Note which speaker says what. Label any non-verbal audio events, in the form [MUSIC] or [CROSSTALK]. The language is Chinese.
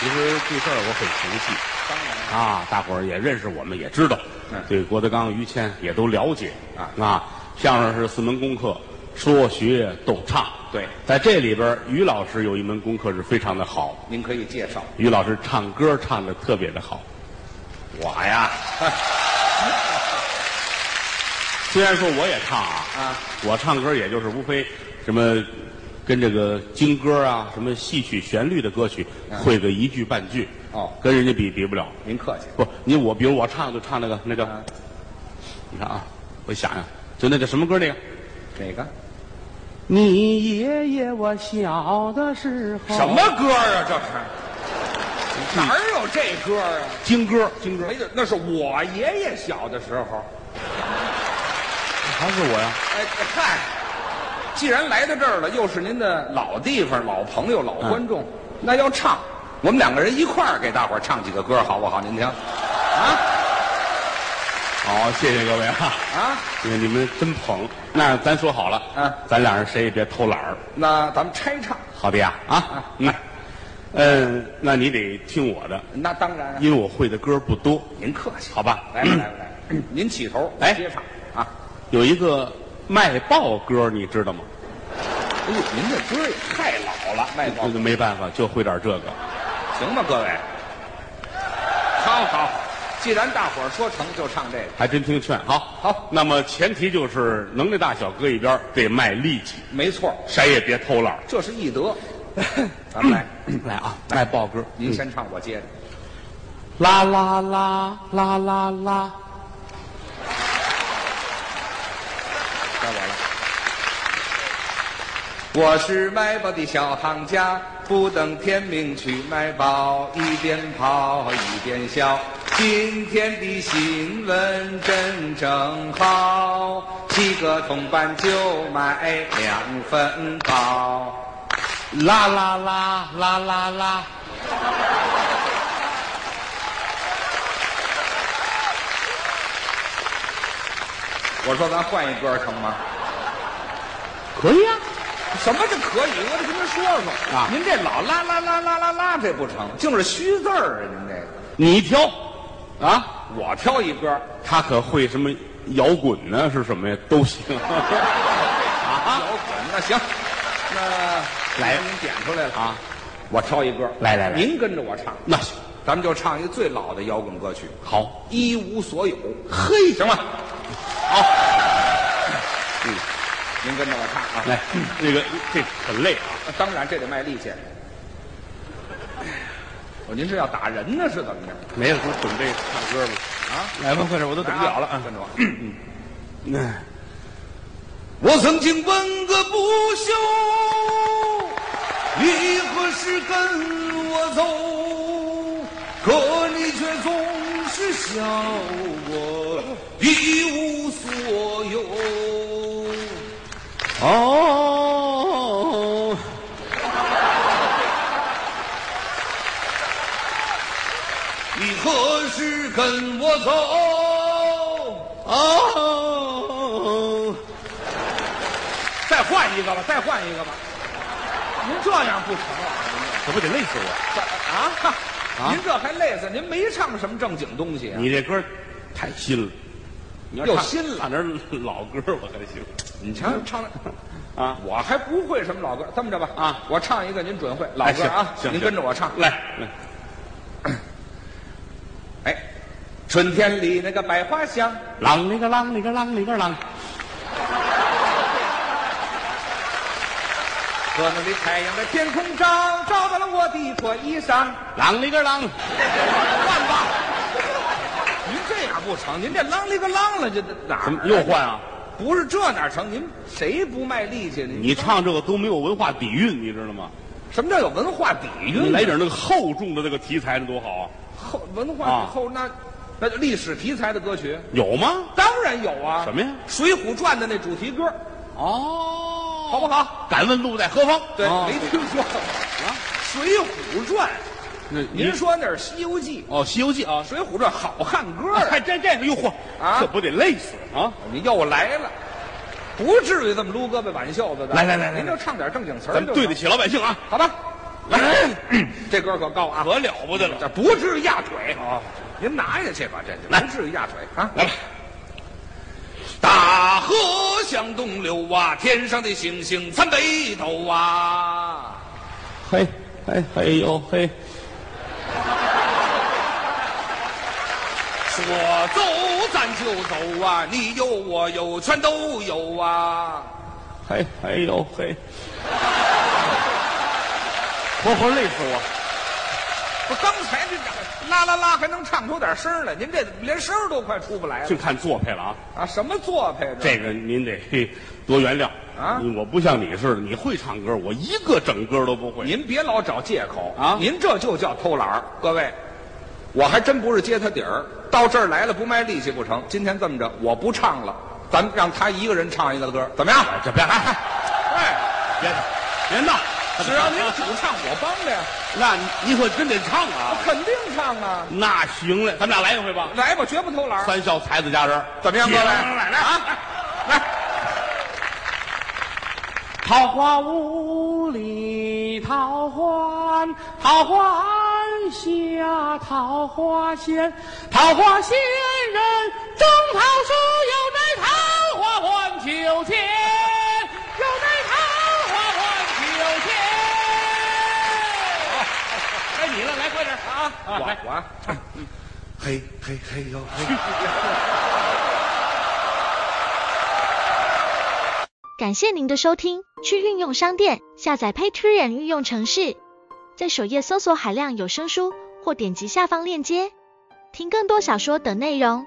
Speaker 1: 其实这事儿我很熟悉，
Speaker 2: 当然
Speaker 1: 啊，大伙儿也认识我们，也知道，
Speaker 2: 嗯
Speaker 1: 对郭德纲、于谦也都了解
Speaker 2: 啊
Speaker 1: 啊。相声是四门功课，说学逗唱。
Speaker 2: 对
Speaker 1: 在这里边儿，于老师有一门功课是非常的好。
Speaker 2: 您可以介绍
Speaker 1: 于老师唱歌唱的特别的好，我呀， [LAUGHS] 虽然说我也唱啊，
Speaker 2: 啊，
Speaker 1: 我唱歌也就是无非什么跟这个京歌啊、什么戏曲旋律的歌曲会个一句半句，
Speaker 2: 啊哦
Speaker 1: 跟人家比比不了。
Speaker 2: 您客气。
Speaker 1: 不，你我比如我唱就唱那个那个
Speaker 2: 啊，
Speaker 1: 你看啊，我想想，就那个什么歌那个，
Speaker 2: 哪个？
Speaker 1: 你爷爷我小的时候
Speaker 2: 什么歌啊？这是嗯哪儿有这歌啊？
Speaker 1: 京歌？京歌
Speaker 2: 没有，那是我爷爷小的时候。
Speaker 1: 还是我呀？
Speaker 2: 哎嗨，既然来到这儿了，又是您的老地方、老朋友、老观众，那要唱，我们两个人一块儿给大伙儿唱几个歌，好不好？您听，啊
Speaker 1: 好，谢谢各位啊。
Speaker 2: 啊，
Speaker 1: 你你们真捧，那咱说好了，
Speaker 2: 嗯
Speaker 1: 咱俩人谁也别偷懒儿，
Speaker 2: 那咱们拆唱，
Speaker 1: 好的呀，啊，那，嗯，那你得听我的，
Speaker 2: 那当然啊，
Speaker 1: 因为我会的歌不多，
Speaker 2: 您客气，嗯
Speaker 1: 好吧？
Speaker 2: 来吧来吧来吧，您起头，
Speaker 1: 哎
Speaker 2: 接唱啊。
Speaker 1: 有一个卖报歌，你知道吗？
Speaker 2: 哎呦，您这歌也太老了，卖报
Speaker 1: 这就没办法，就会点这个。
Speaker 2: 行吧，各位。好好，既然大伙儿说成就唱这个，
Speaker 1: 还真听劝，好，
Speaker 2: 好。
Speaker 1: 那么前提就是能耐大小搁一边儿，得卖力气，
Speaker 2: 没错，
Speaker 1: 谁也别偷懒儿。
Speaker 2: 这是易 [LAUGHS] 德。咱们来，
Speaker 1: [CLEARS THROAT]
Speaker 2: 嗯
Speaker 1: 来啊，卖报歌，
Speaker 2: 您先唱，我接着。
Speaker 1: 啦啦啦啦啦啦，
Speaker 2: 该我了。我是卖报的小行家，不等天明去卖报，一边跑一边笑。今天的新闻真正好，七个铜板就买两份报。
Speaker 1: 啦啦啦啦啦啦。
Speaker 2: 我说咱换一歌成吗？
Speaker 1: 可以啊，
Speaker 2: 什么这可以？我得跟您说说
Speaker 1: 啊
Speaker 2: 您这老啦啦啦啦啦啦，这不成，净是虚字儿啊！您这个，
Speaker 1: 你挑，啊，
Speaker 2: 我挑一歌，
Speaker 1: 他可会什么摇滚呢？是什么呀？都行。 [LAUGHS]
Speaker 2: 摇滚那行，那
Speaker 1: 来
Speaker 2: 您点出啊来了
Speaker 1: 啊，
Speaker 2: 我挑一歌，
Speaker 1: 来来来
Speaker 2: 您跟着我唱，
Speaker 1: 那行，
Speaker 2: 咱们就唱一个最老的摇滚歌曲
Speaker 1: 好，
Speaker 2: 《一无所有》，
Speaker 1: 嘿，
Speaker 2: 行吗？
Speaker 1: 好，
Speaker 2: 嗯，您跟着我唱啊。
Speaker 1: 来，那个这很累啊，
Speaker 2: 当然这得卖力气。我您是要打人呢，是怎么着？
Speaker 1: 没有什么准备唱歌吗？
Speaker 2: 啊，
Speaker 1: 来吧，快点，我都
Speaker 2: 跟着我。
Speaker 1: 嗯，
Speaker 2: 我曾经问个不休，你何时跟我走？可你却总是笑我一无所有。
Speaker 1: 哦，
Speaker 2: 你何时跟我走？
Speaker 1: 啊哦，
Speaker 2: 再换一个吧，再换一个吧。您这样不成啊！
Speaker 1: 可不得累死我！
Speaker 2: 啊，
Speaker 1: 啊
Speaker 2: 您这还累死？您没唱什么正经东西、啊，
Speaker 1: 你这歌太新了，你要
Speaker 2: 又
Speaker 1: 唱
Speaker 2: 新了
Speaker 1: 唱点老歌我还行
Speaker 2: 你瞧唱的。
Speaker 1: 啊。
Speaker 2: 我还不会什么老歌，这么着吧，
Speaker 1: 啊
Speaker 2: 我唱一个您准会老
Speaker 1: 哎
Speaker 2: 歌啊，
Speaker 1: 行行，
Speaker 2: 您跟着我唱。
Speaker 1: 来来，
Speaker 2: 哎，春天里那个百花香，
Speaker 1: 啷里个啷里个啷里个啷，
Speaker 2: 和那的太阳在天空照，照到了我的破衣裳。
Speaker 1: 啷里个啷，
Speaker 2: 换吧，您这样不成，您这啷里个啷了，这哪儿哎
Speaker 1: 怎么又换啊？
Speaker 2: 不是这哪成？您谁不卖力气呢？
Speaker 1: 你唱这个都没有文化底蕴，你知道吗？
Speaker 2: 什么叫有文化底蕴呢？
Speaker 1: 你来点那个厚重的那个题材，那多好啊！
Speaker 2: 后文化
Speaker 1: 啊
Speaker 2: 底后那那就历史题材的歌曲，
Speaker 1: 有吗？
Speaker 2: 当然有啊。
Speaker 1: 什么呀
Speaker 2: 《水浒传》的那主题歌，
Speaker 1: 哦，
Speaker 2: 好不好？
Speaker 1: 敢问路在何方？
Speaker 2: 对，
Speaker 1: 哦
Speaker 2: 没听说过啊，《水浒传》。
Speaker 1: 那您
Speaker 2: 您说那是《西游记
Speaker 1: 哦，《西游记》》
Speaker 2: 啊，《水浒传》好汉歌
Speaker 1: 哎，
Speaker 2: 啊，
Speaker 1: 还这这个，哟嚯，
Speaker 2: 啊
Speaker 1: 这不得累死啊！
Speaker 2: 你又来了，不至于这么撸胳膊挽袖子的。
Speaker 1: 来来来来
Speaker 2: 您就唱点正经词
Speaker 1: 咱
Speaker 2: 儿就
Speaker 1: 们
Speaker 2: 行
Speaker 1: 对得起老百姓啊！
Speaker 2: 好吧？
Speaker 1: 来，
Speaker 2: [CLEARS THROAT] 这歌可高啊，
Speaker 1: 可了不得了。
Speaker 2: 这不至于压腿。
Speaker 1: 啊，
Speaker 2: 您拿下去吧，这就
Speaker 1: 来
Speaker 2: 不至于压腿啊。
Speaker 1: 来吧，
Speaker 2: 大河向东流啊，天上的星星参北斗啊。
Speaker 1: 嘿，嘿，嘿呦嘿，
Speaker 2: 说走咱就走啊，你有我有全都有啊。
Speaker 1: 嘿，嘿呦嘿，活活累死我！
Speaker 2: 不，刚才这拉拉拉还能唱出点声来，您这连声儿都快出不来了
Speaker 1: 净看作配了啊！
Speaker 2: 啊！什么做派
Speaker 1: 这个您得 [LAUGHS] 嘿多原谅嗯
Speaker 2: 啊
Speaker 1: 我不像你似的，你会唱歌，我一个整歌都不会。
Speaker 2: 您别老找借口
Speaker 1: 啊
Speaker 2: 您这就叫偷懒儿。各位，我还真不是接他底儿，到这儿来了不卖力气不成。今天这么着，我不唱了，咱们让他一个人唱一个歌，怎么样？
Speaker 1: 这别哎
Speaker 2: 哎，
Speaker 1: 别别闹！
Speaker 2: 只要您主唱，我帮着呀，
Speaker 1: [LAUGHS] 那你可真得唱
Speaker 2: [LAUGHS]
Speaker 1: 啊！
Speaker 2: 肯定唱啊！
Speaker 1: 那行嘞，咱们俩来一回吧。
Speaker 2: 来吧，绝不偷懒儿。
Speaker 1: 三笑才子佳人，
Speaker 2: 怎么样，各位？
Speaker 1: 来来来啊！桃花坞里桃花，桃花庵下桃花仙，桃花仙人中桃树，有那桃花换秋千，有那桃花换秋千。 [LAUGHS] 该你了，来快点啊！
Speaker 2: 我
Speaker 1: 我
Speaker 2: 我
Speaker 1: 嘿嘿嘿哟嘿。
Speaker 3: 感谢您的收听，去运用商店下载 Patreon 运用城市，在首页搜索海量有声书，或点击下方链接听更多小说等内容。